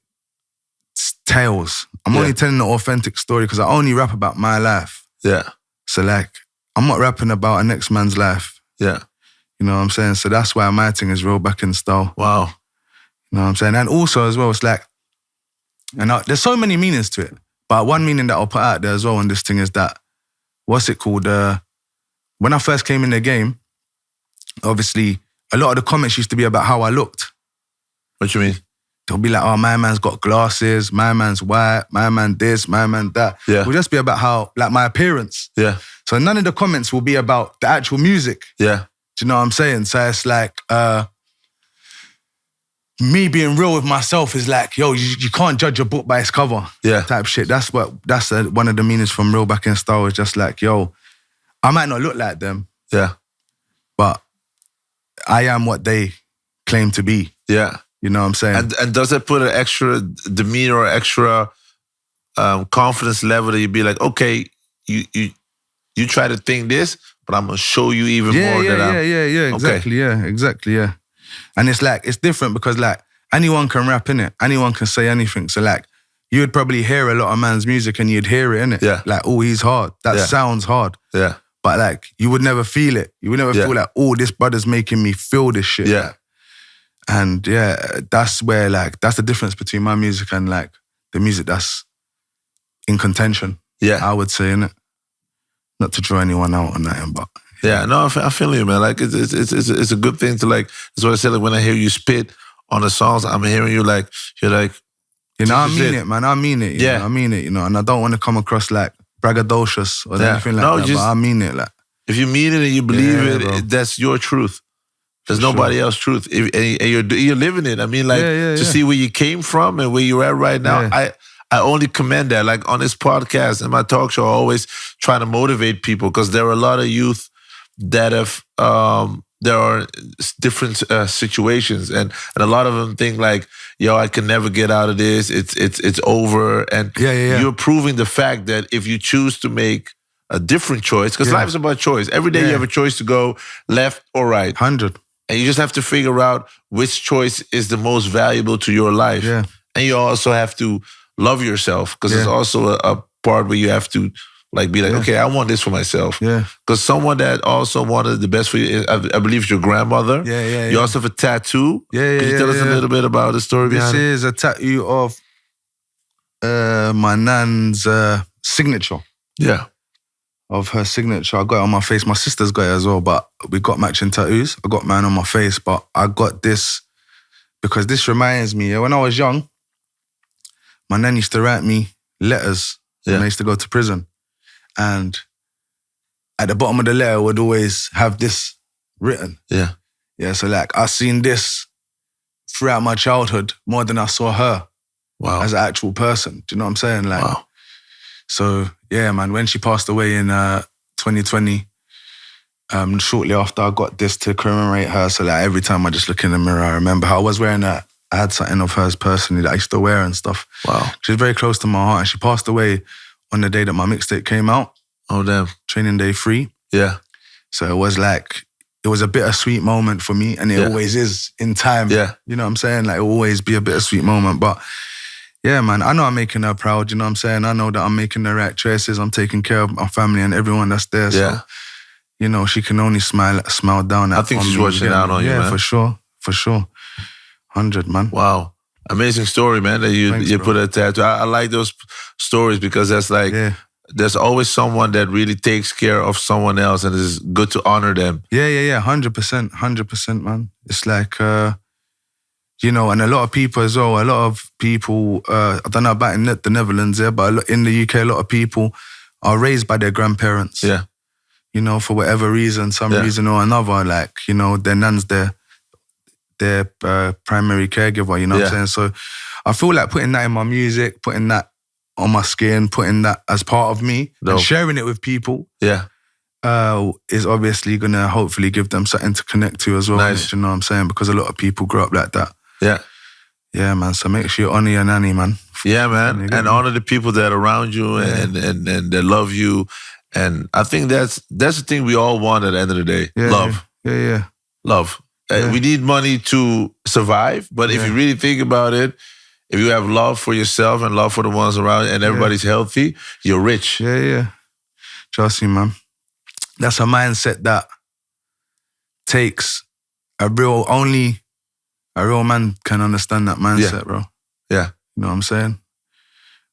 Speaker 1: s- tales. I'm
Speaker 2: Yeah.
Speaker 1: only telling the authentic story because I only rap about my life.
Speaker 2: Yeah.
Speaker 1: So like, I'm not rapping about a next man's life.
Speaker 2: Yeah.
Speaker 1: You know what I'm saying? So that's why my thing is real back in style.
Speaker 2: Wow.
Speaker 1: You know what I'm saying? And also as well, it's like, and I, there's so many meanings to it. But one meaning that I'll put out there as well on this thing is that, what's it called? Uh, when I first came in the game, obviously a lot of the comments used to be about how I looked.
Speaker 2: What you mean?
Speaker 1: They'll be like, "Oh, my man's got glasses. My man's white. My man this. My man that."
Speaker 2: Yeah.
Speaker 1: It'll just be about how like my appearance.
Speaker 2: Yeah.
Speaker 1: So none of the comments will be about the actual music.
Speaker 2: Yeah.
Speaker 1: Do you know what I'm saying? So it's like uh, me being real with myself is like, yo, you, you can't judge a book by its cover.
Speaker 2: Yeah.
Speaker 1: Type shit. That's what that's uh one of the meanings from real back in style is just like, yo, I might not look like them,
Speaker 2: Yeah.
Speaker 1: but I am what they claim to be.
Speaker 2: Yeah.
Speaker 1: You know what I'm saying?
Speaker 2: And and does that put an extra demeanor or extra um, confidence level that you'd be like, okay, you you you try to think this, but I'm gonna show you even
Speaker 1: yeah,
Speaker 2: more
Speaker 1: yeah,
Speaker 2: that I'm
Speaker 1: yeah, yeah, yeah, exactly, yeah, exactly, yeah. And it's like it's different because like anyone can rap in it, anyone can say anything. So like you would probably hear a lot of man's music and you'd hear it in it.
Speaker 2: Yeah.
Speaker 1: Like oh, he's hard. That
Speaker 2: Yeah.
Speaker 1: sounds hard,
Speaker 2: yeah.
Speaker 1: but like you would never feel it. You would never
Speaker 2: Yeah.
Speaker 1: feel like oh, this brother's making me feel this shit.
Speaker 2: Yeah.
Speaker 1: And yeah, that's where like that's the difference between my music and like the music that's in contention.
Speaker 2: Yeah.
Speaker 1: I would say in it. Not to draw anyone out on that, but
Speaker 2: Yeah, no, I feel, I feel you, man. Like it's it's, it's it's it's a good thing to like. That's what I said. Like when I hear you spit on the songs, I'm hearing you like you're like
Speaker 1: You know, I
Speaker 2: This is
Speaker 1: mean
Speaker 2: it.
Speaker 1: it. man. I mean it. You
Speaker 2: Yeah.
Speaker 1: know, I mean it. You know, and I don't want to come across like braggadocious or
Speaker 2: Yeah.
Speaker 1: anything like
Speaker 2: No,
Speaker 1: that.
Speaker 2: just-
Speaker 1: but I mean it. Like,
Speaker 2: if you mean it and you believe
Speaker 1: Yeah,
Speaker 2: it,
Speaker 1: bro.
Speaker 2: it- that's your truth. There's
Speaker 1: For
Speaker 2: nobody else's truth, if, and, and you're you're living it. I mean, like
Speaker 1: Yeah, yeah,
Speaker 2: to
Speaker 1: yeah.
Speaker 2: see where you came from and where you're at right now.
Speaker 1: Yeah.
Speaker 2: I I only commend that. Like on this podcast and my talk show, I always try to motivate people because there are a lot of youth that have um there are s- different uh, situations and and a lot of them think like yo i can never get out of this it's it's it's over and
Speaker 1: Yeah, yeah, yeah.
Speaker 2: you're proving the fact that if you choose to make a different choice because
Speaker 1: Yeah.
Speaker 2: life's about choice every day you
Speaker 1: Yeah.
Speaker 2: have a choice to go left or right
Speaker 1: hundred.
Speaker 2: and you just have to figure out which choice is the most valuable to your life
Speaker 1: Yeah.
Speaker 2: and you also have to love yourself because it's
Speaker 1: Yeah.
Speaker 2: also a, a part where you have to Like be like, okay, I want this for myself.
Speaker 1: Yeah.
Speaker 2: Because someone that also wanted the best for you, is- I, I believe it's your grandmother.
Speaker 1: Yeah, yeah,
Speaker 2: You
Speaker 1: yeah.
Speaker 2: also have a tattoo.
Speaker 1: Yeah, yeah,
Speaker 2: Could you
Speaker 1: yeah,
Speaker 2: tell us
Speaker 1: yeah.
Speaker 2: a little bit about the story
Speaker 1: This
Speaker 2: behind it?
Speaker 1: is a tattoo of uh, my nan's uh, signature.
Speaker 2: Yeah.
Speaker 1: Of her signature, I got it on my face. My sister's got it as well, but we got matching tattoos. I got mine on my face, but I got this because this reminds me. yeah, When I was young, my nan used to write me letters when
Speaker 2: Yeah.
Speaker 1: I used to go to prison, and at the bottom of the letter would always have this written.
Speaker 2: Yeah.
Speaker 1: Yeah, so like I seen this throughout my childhood more than I saw her
Speaker 2: Wow.
Speaker 1: as an actual person. Do you know what I'm saying? Like,
Speaker 2: Wow.
Speaker 1: so yeah, man. When she passed away in uh, 2020, um, shortly after I got this to commemorate her. So like every time I just look in the mirror, I remember how I was wearing that. I had something of hers personally that I used to wear and stuff.
Speaker 2: Wow.
Speaker 1: She's very close to my heart, and she passed away on the day that my mixtape came out,
Speaker 2: Oh damn.
Speaker 1: Training Day Three.
Speaker 2: Yeah.
Speaker 1: So it was like it was a bittersweet moment for me, and it
Speaker 2: Yeah.
Speaker 1: always is in time.
Speaker 2: Yeah.
Speaker 1: You know what I'm saying? Like it'll always be a bittersweet moment. But yeah, man, I know I'm making her proud, you know what I'm saying? I know that I'm making the right choices. I'm taking care of my family and everyone that's there. So,
Speaker 2: Yeah.
Speaker 1: you know, she can only smile smile down at
Speaker 2: I think
Speaker 1: on
Speaker 2: she's
Speaker 1: me,
Speaker 2: watching
Speaker 1: yeah,
Speaker 2: down on you,
Speaker 1: Yeah,
Speaker 2: man.
Speaker 1: for sure. For sure. Hundred, man.
Speaker 2: Wow. Amazing story, man. That you
Speaker 1: Thanks,
Speaker 2: you
Speaker 1: bro.
Speaker 2: put a tattoo. I, I like those p- stories because that's like
Speaker 1: Yeah.
Speaker 2: there's always someone that really takes care of someone else, and it's good to honor them.
Speaker 1: Yeah, yeah, yeah. Hundred percent, hundred percent, man. It's like, uh, you know, and a lot of people as well. A lot of people. Uh, I don't know about in the the Netherlands, yeah, but a lot, in the UK, a lot of people are raised by their grandparents.
Speaker 2: Yeah.
Speaker 1: You know, for whatever reason, some
Speaker 2: Yeah.
Speaker 1: reason or another, like you know, their nan's their their uh, primary caregiver. You know what
Speaker 2: Yeah.
Speaker 1: I'm saying? So, I feel like putting that in my music, putting that on my skin, putting that as part of me,
Speaker 2: Dope.
Speaker 1: and sharing it with people
Speaker 2: Yeah.
Speaker 1: uh, is obviously going to hopefully give them something to connect to as well.
Speaker 2: Nice.
Speaker 1: You know what I'm saying? Because a lot of people grew up like that.
Speaker 2: Yeah.
Speaker 1: Yeah, man. So make sure you honor your nanny, man.
Speaker 2: Yeah, man.
Speaker 1: you
Speaker 2: And,
Speaker 1: go, man.
Speaker 2: honor the people that are around you and, and and that love you. And I think that's that's the thing we all want at the end of the day.
Speaker 1: Yeah,
Speaker 2: love.
Speaker 1: Yeah, yeah. yeah.
Speaker 2: Love. Uh,
Speaker 1: Yeah.
Speaker 2: We need money to survive. But if
Speaker 1: Yeah.
Speaker 2: you really think about it, if you have love for yourself and love for the ones around you and everybody's healthy, you're rich.
Speaker 1: Yeah, yeah. Trust me, man. That's a mindset that takes a real only a real man can understand that mindset, bro.
Speaker 2: Yeah.
Speaker 1: You know what I'm saying?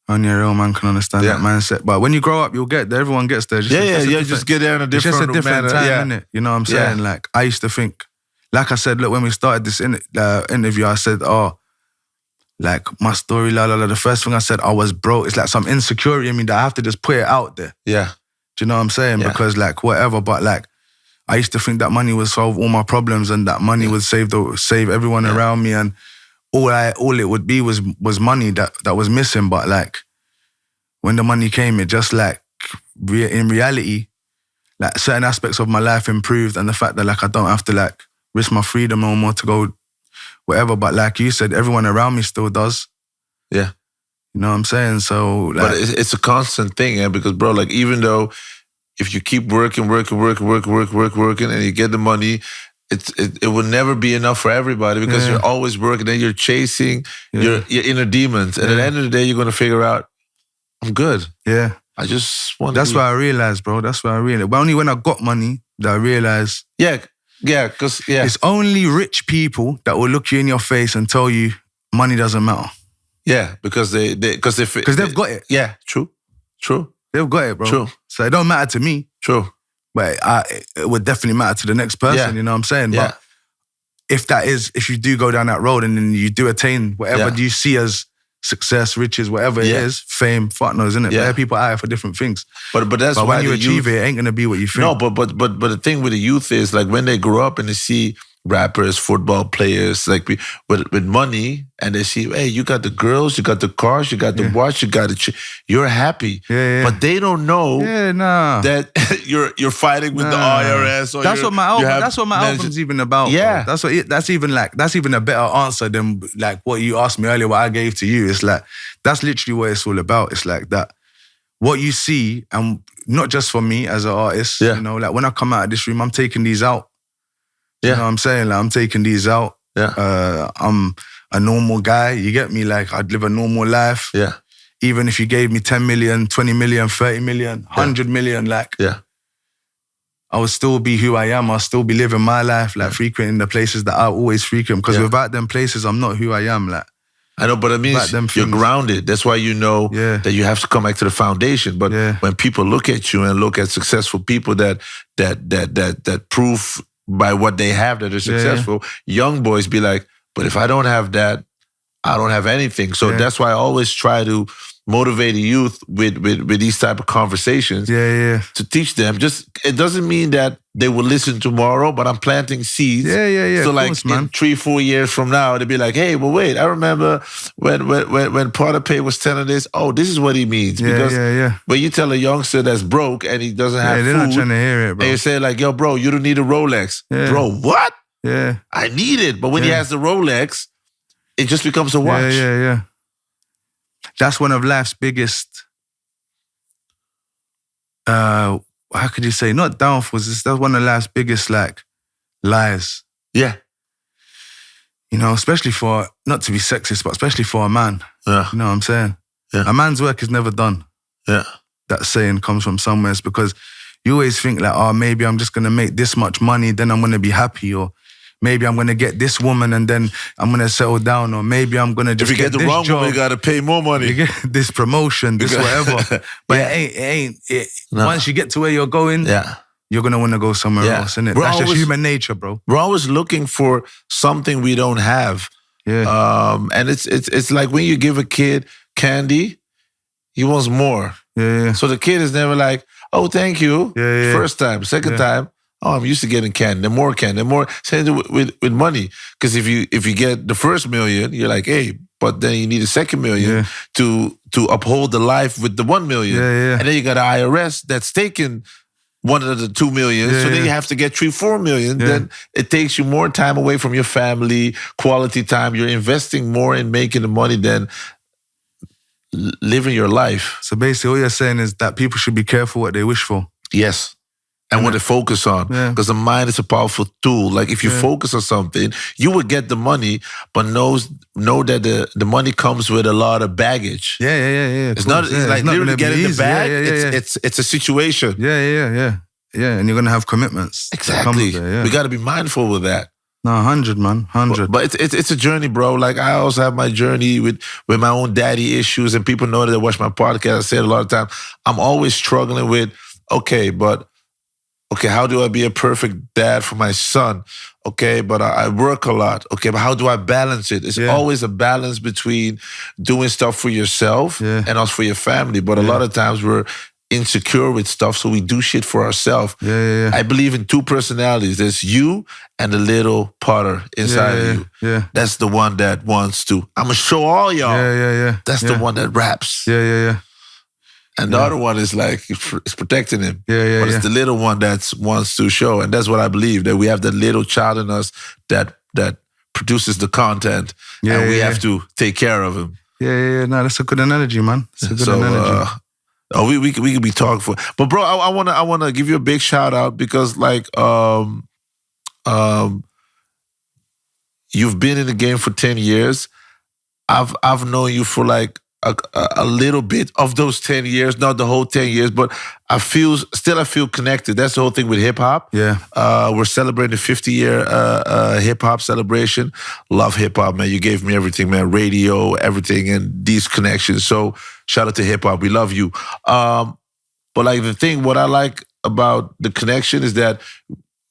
Speaker 1: Only a real man can understand
Speaker 2: Yeah.
Speaker 1: that mindset. But when you grow up, you'll get there. Everyone gets there. Just
Speaker 2: Yeah,
Speaker 1: it's
Speaker 2: yeah,
Speaker 1: just a
Speaker 2: yeah.
Speaker 1: different-
Speaker 2: Just get there in a
Speaker 1: it's
Speaker 2: different
Speaker 1: just a different
Speaker 2: manner.
Speaker 1: time,
Speaker 2: yeah.
Speaker 1: innit? You know what I'm
Speaker 2: Yeah.
Speaker 1: saying? Like I used to think, like I said, look, when we started this in, uh, interview, I said, oh, like my story, la la la. The first thing I said, I was broke. It's like some insecurity in me that I have to just put it out there.
Speaker 2: Yeah.
Speaker 1: Do you know what I'm saying?
Speaker 2: Yeah.
Speaker 1: Because like whatever, but like I used to think that money would solve all my problems and that money would save the save everyone around me and all I all it would be was was money that that was missing. But like when the money came, it just like re- in reality, like certain aspects of my life improved and the fact that like I don't have to like risk my freedom no more to go whatever. But like you said, everyone around me still does.
Speaker 2: Yeah.
Speaker 1: You know what I'm saying? So like
Speaker 2: But it's, it's a constant thing, yeah, because bro, like even though if you keep working, working, working, working, work, work, working, and you get the money, it's it, it will never be enough for everybody because
Speaker 1: Yeah.
Speaker 2: you're always working and you're chasing
Speaker 1: Yeah.
Speaker 2: your your inner demons. And at the end of the day, you're gonna figure out, I'm good.
Speaker 1: yeah.
Speaker 2: I just want.
Speaker 1: That's
Speaker 2: to be-
Speaker 1: what I realized, bro. That's what I realized. But only when I got money that I realized
Speaker 2: Yeah, yeah, because yeah,
Speaker 1: it's only rich people that will look you in your face and tell you money doesn't matter
Speaker 2: yeah, because they they because they fi-
Speaker 1: because they've got it.
Speaker 2: Yeah, true, true,
Speaker 1: They've got it, bro.
Speaker 2: True.
Speaker 1: So it don't matter to me,
Speaker 2: true.
Speaker 1: but I, it would definitely matter to the next person.
Speaker 2: Yeah.
Speaker 1: You know what I'm saying?
Speaker 2: Yeah,
Speaker 1: But if that is, if you do go down that road and then you do attain whatever
Speaker 2: Yeah.
Speaker 1: you see as success, riches, whatever it is,
Speaker 2: Yeah.
Speaker 1: fame, fuck knows, isn't it?
Speaker 2: Yeah.
Speaker 1: There are people out here for different things.
Speaker 2: but but that's
Speaker 1: but
Speaker 2: why
Speaker 1: when you
Speaker 2: the youth-
Speaker 1: achieve it, it ain't gonna be what you think.
Speaker 2: No, but but but but the thing with the youth is like when they grow up and they see rappers, football players, like we- with with money, and they see, hey, you got the girls, you got the cars, you got the watch, you got the, ch- you're happy.
Speaker 1: Yeah, yeah.
Speaker 2: But they don't know.
Speaker 1: yeah, nah.
Speaker 2: That you're you're fighting with the
Speaker 1: Nah.
Speaker 2: IRS. Or
Speaker 1: Ah. that's
Speaker 2: you're-
Speaker 1: what my
Speaker 2: you
Speaker 1: album.
Speaker 2: have
Speaker 1: That's what my
Speaker 2: manage-
Speaker 1: album's even about. bro.
Speaker 2: Yeah.
Speaker 1: that's what. It, that's even like. That's even a better answer than like what you asked me earlier. What I gave to you. It's like that's literally what it's all about. It's like that. What you see, and not just for me as an artist.
Speaker 2: Yeah.
Speaker 1: You know, like when I come out of this room, I'm taking these out. You
Speaker 2: Yeah.
Speaker 1: know what I'm saying? Like I'm taking these out.
Speaker 2: Yeah.
Speaker 1: Uh, I'm a normal guy. You get me? Like I'd live a normal life
Speaker 2: yeah.
Speaker 1: even if you gave me 10 million, 20 million, 30 million, 100 million, like
Speaker 2: Yeah.
Speaker 1: I would still be who I am. I'll still be living my life, like frequenting the places that I always frequent. Because
Speaker 2: Yeah.
Speaker 1: without them places, I'm not who I am. Like,
Speaker 2: I know, but it means
Speaker 1: Like them
Speaker 2: you're
Speaker 1: things.
Speaker 2: grounded. That's why you know
Speaker 1: Yeah.
Speaker 2: that you have to come back to the foundation. But
Speaker 1: Yeah.
Speaker 2: when people look at you and look at successful people that that that that that prove by what they have that they're
Speaker 1: Yeah, yeah.
Speaker 2: successful, young boys be like, "But if I don't have that, I don't have anything." So
Speaker 1: Yeah.
Speaker 2: that's why I always try to motivate the youth with with, with these type of conversations
Speaker 1: yeah, yeah,
Speaker 2: to teach them. Just it doesn't mean that they will listen tomorrow, but I'm planting seeds.
Speaker 1: yeah, yeah, yeah.
Speaker 2: So
Speaker 1: of
Speaker 2: like
Speaker 1: course,
Speaker 2: in three, four years from now, they'd be like, hey, well, wait, I remember when when when, when Partapay was telling this, oh, this is what he means.
Speaker 1: yeah,
Speaker 2: because
Speaker 1: yeah, yeah.
Speaker 2: when you tell a youngster that's broke and he doesn't have
Speaker 1: Yeah, they're not
Speaker 2: food,
Speaker 1: trying to hear it,
Speaker 2: and
Speaker 1: bro.
Speaker 2: you say like, yo, bro, you don't need a Rolex.
Speaker 1: Yeah.
Speaker 2: Bro, what?
Speaker 1: Yeah,
Speaker 2: I need it. But when he
Speaker 1: Yeah.
Speaker 2: has the Rolex, it just becomes a
Speaker 1: yeah,
Speaker 2: watch.
Speaker 1: yeah, yeah. That's one of life's biggest. Uh, how could you say not downfalls? It's that's one of life's biggest like lies.
Speaker 2: Yeah.
Speaker 1: You know, especially for not to be sexist, but especially for a man.
Speaker 2: Yeah.
Speaker 1: You know what I'm saying?
Speaker 2: Yeah.
Speaker 1: A man's work is never done.
Speaker 2: Yeah.
Speaker 1: That saying comes from somewhere. It's because you always think like, oh, maybe I'm just gonna make this much money, then I'm gonna be happy, or maybe I'm gonna get this woman and then I'm gonna settle down, or maybe I'm gonna
Speaker 2: If
Speaker 1: just
Speaker 2: you get the
Speaker 1: this
Speaker 2: wrong
Speaker 1: job,
Speaker 2: one, you gotta pay more
Speaker 1: you
Speaker 2: money.
Speaker 1: get this promotion, this
Speaker 2: got-
Speaker 1: whatever. But it ain't, it ain't. It,
Speaker 2: No.
Speaker 1: Once you get to where you're going,
Speaker 2: Yeah.
Speaker 1: you're gonna wanna go somewhere
Speaker 2: Yeah.
Speaker 1: else, innit?
Speaker 2: We're
Speaker 1: That's just
Speaker 2: always-
Speaker 1: human nature, bro.
Speaker 2: We're always looking for something we don't have.
Speaker 1: Yeah.
Speaker 2: Um, and it's it's it's like when you give a kid candy, he wants more.
Speaker 1: yeah, yeah.
Speaker 2: So the kid is never like, "Oh, thank you."
Speaker 1: Yeah, yeah.
Speaker 2: First time, second
Speaker 1: Yeah.
Speaker 2: time, oh, I'm used to getting candy. Then more candy, then more. Same thing with with, with money, because if you if you get the first million, you're like, "Hey," but then you need a second million
Speaker 1: Yeah.
Speaker 2: to to uphold the life with the one million.
Speaker 1: Yeah, yeah.
Speaker 2: And then you got an IRS that's taking one of the two million.
Speaker 1: Yeah,
Speaker 2: so then
Speaker 1: yeah.
Speaker 2: you have to get three, four million.
Speaker 1: Yeah.
Speaker 2: Then it takes you more time away from your family, quality time. You're investing more in making the money than l- living your life.
Speaker 1: So basically, all you're saying is that people should be careful what they wish for.
Speaker 2: Yes. And what they focus on.
Speaker 1: Yeah.
Speaker 2: Because the mind is a powerful tool. Like if you focus on something, you will get the money, but knows know that the, the money comes with a lot of baggage.
Speaker 1: Yeah, yeah, yeah, yeah. of
Speaker 2: It's not
Speaker 1: course,
Speaker 2: it's
Speaker 1: yeah,
Speaker 2: like
Speaker 1: not
Speaker 2: literally
Speaker 1: gonna be
Speaker 2: getting the
Speaker 1: easy. Yeah,
Speaker 2: bag.
Speaker 1: yeah, yeah, yeah.
Speaker 2: It's it's it's a situation.
Speaker 1: Yeah, yeah, yeah. Yeah, and you're gonna have commitments. that come
Speaker 2: Exactly.
Speaker 1: with it, yeah.
Speaker 2: We gotta be mindful with that.
Speaker 1: no, hundred, man, hundred.
Speaker 2: But it's, it's it's a journey, bro. Like I also have my journey with with my own daddy issues, and people know that they watch my podcast. I say it a lot of times. I'm always struggling with, okay, but okay, how do I be a perfect dad for my son? Okay, but I, I work a lot. Okay, but how do I balance it? It's
Speaker 1: Yeah.
Speaker 2: always a balance between doing stuff for yourself
Speaker 1: Yeah.
Speaker 2: and also for your family. But a lot of times we're insecure with stuff, so we do shit for ourselves.
Speaker 1: Yeah, yeah, yeah.
Speaker 2: I believe in two personalities. There's you and the little Potter inside
Speaker 1: yeah,
Speaker 2: of
Speaker 1: yeah,
Speaker 2: you.
Speaker 1: yeah,
Speaker 2: That's the one that wants to. I'm gonna show all y'all.
Speaker 1: yeah, yeah, yeah.
Speaker 2: That's
Speaker 1: yeah.
Speaker 2: the one that raps,
Speaker 1: Yeah, yeah, yeah,
Speaker 2: and the other one is like it's protecting him.
Speaker 1: yeah, yeah,
Speaker 2: but
Speaker 1: yeah.
Speaker 2: it's the little one that wants to show, and that's what I believe that we have that little child in us that that produces the content,
Speaker 1: Yeah,
Speaker 2: and we
Speaker 1: yeah,
Speaker 2: have
Speaker 1: yeah.
Speaker 2: to take care of him.
Speaker 1: yeah, yeah, yeah. No, that's a good analogy, man. That's a good
Speaker 2: so,
Speaker 1: analogy.
Speaker 2: uh, oh, we we could- we could be talking for, but bro, I, I wanna I wanna give you a big shout out because like um um you've been in the game for ten years. I've I've known you for like a, a a little bit of those ten years, not the whole ten years, but I feel still I feel connected. That's the whole thing with hip hop.
Speaker 1: yeah,
Speaker 2: Uh, we're celebrating the 50 year uh, uh, hip hop celebration. Love hip hop, man. You gave me everything, man. Radio, everything, and these connections. So shout out to hip hop. We love you. Um, but like the thing, what I like about the connection is that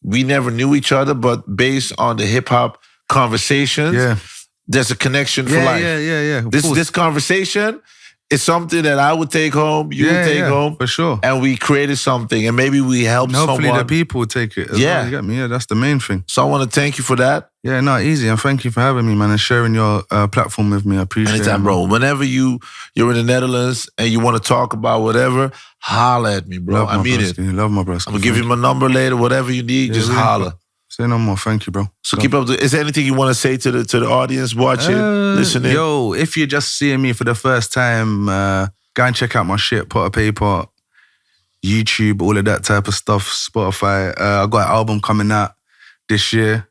Speaker 2: we never knew each other, but based on the hip hop conversations,
Speaker 1: yeah,
Speaker 2: there's a connection for
Speaker 1: yeah,
Speaker 2: life.
Speaker 1: yeah, yeah, yeah. of
Speaker 2: this
Speaker 1: course.
Speaker 2: this conversation is something that I would take home, you
Speaker 1: yeah,
Speaker 2: would take
Speaker 1: yeah,
Speaker 2: home,
Speaker 1: for sure.
Speaker 2: and we created something, and maybe we helped
Speaker 1: And hopefully, the
Speaker 2: someone.
Speaker 1: people take it. As
Speaker 2: Yeah.
Speaker 1: well, you get me. Yeah, that's the main thing.
Speaker 2: so I want to thank you for that.
Speaker 1: Yeah, no, easy. And thank you for having me, man, and sharing your uh, platform with me. I appreciate it.
Speaker 2: Anytime,
Speaker 1: man.
Speaker 2: bro. Whenever you you're in the Netherlands and you want to talk about whatever, holler at me, bro.
Speaker 1: Love
Speaker 2: I
Speaker 1: my
Speaker 2: mean it.
Speaker 1: broski, Love my bros.
Speaker 2: I'm gonna give you my number later. Whatever you need, just
Speaker 1: really.
Speaker 2: holler.
Speaker 1: Say no more. Thank you, bro.
Speaker 2: So keep up. The, is there anything you want to say to the to the audience watching,
Speaker 1: Uh,
Speaker 2: listening?
Speaker 1: Yo, if you're just seeing me for the first time, uh, go and check out my shit, Potter Paper, YouTube, all of that type of stuff, Spotify. Uh, I got an album coming out this year.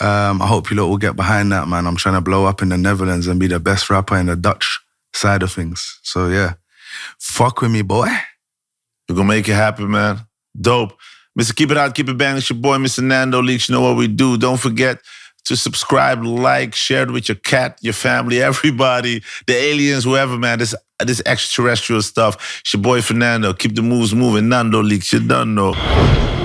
Speaker 1: Um, I hope you lot will get behind that, man. I'm trying to blow up in the Netherlands and be the best rapper in the Dutch side of things. So yeah, fuck with me, boy.
Speaker 2: We're gonna make it happen, man. Dope. Mr. Keep It Out, Keep It Bang. It's your boy, Mr. Nando Leaks. You know what we do. Don't forget to subscribe, like, share it with your cat, your family, everybody, the aliens, whoever, man. This this extraterrestrial stuff. It's your boy Fernando. Keep the moves moving. Nando Leaks. You done know.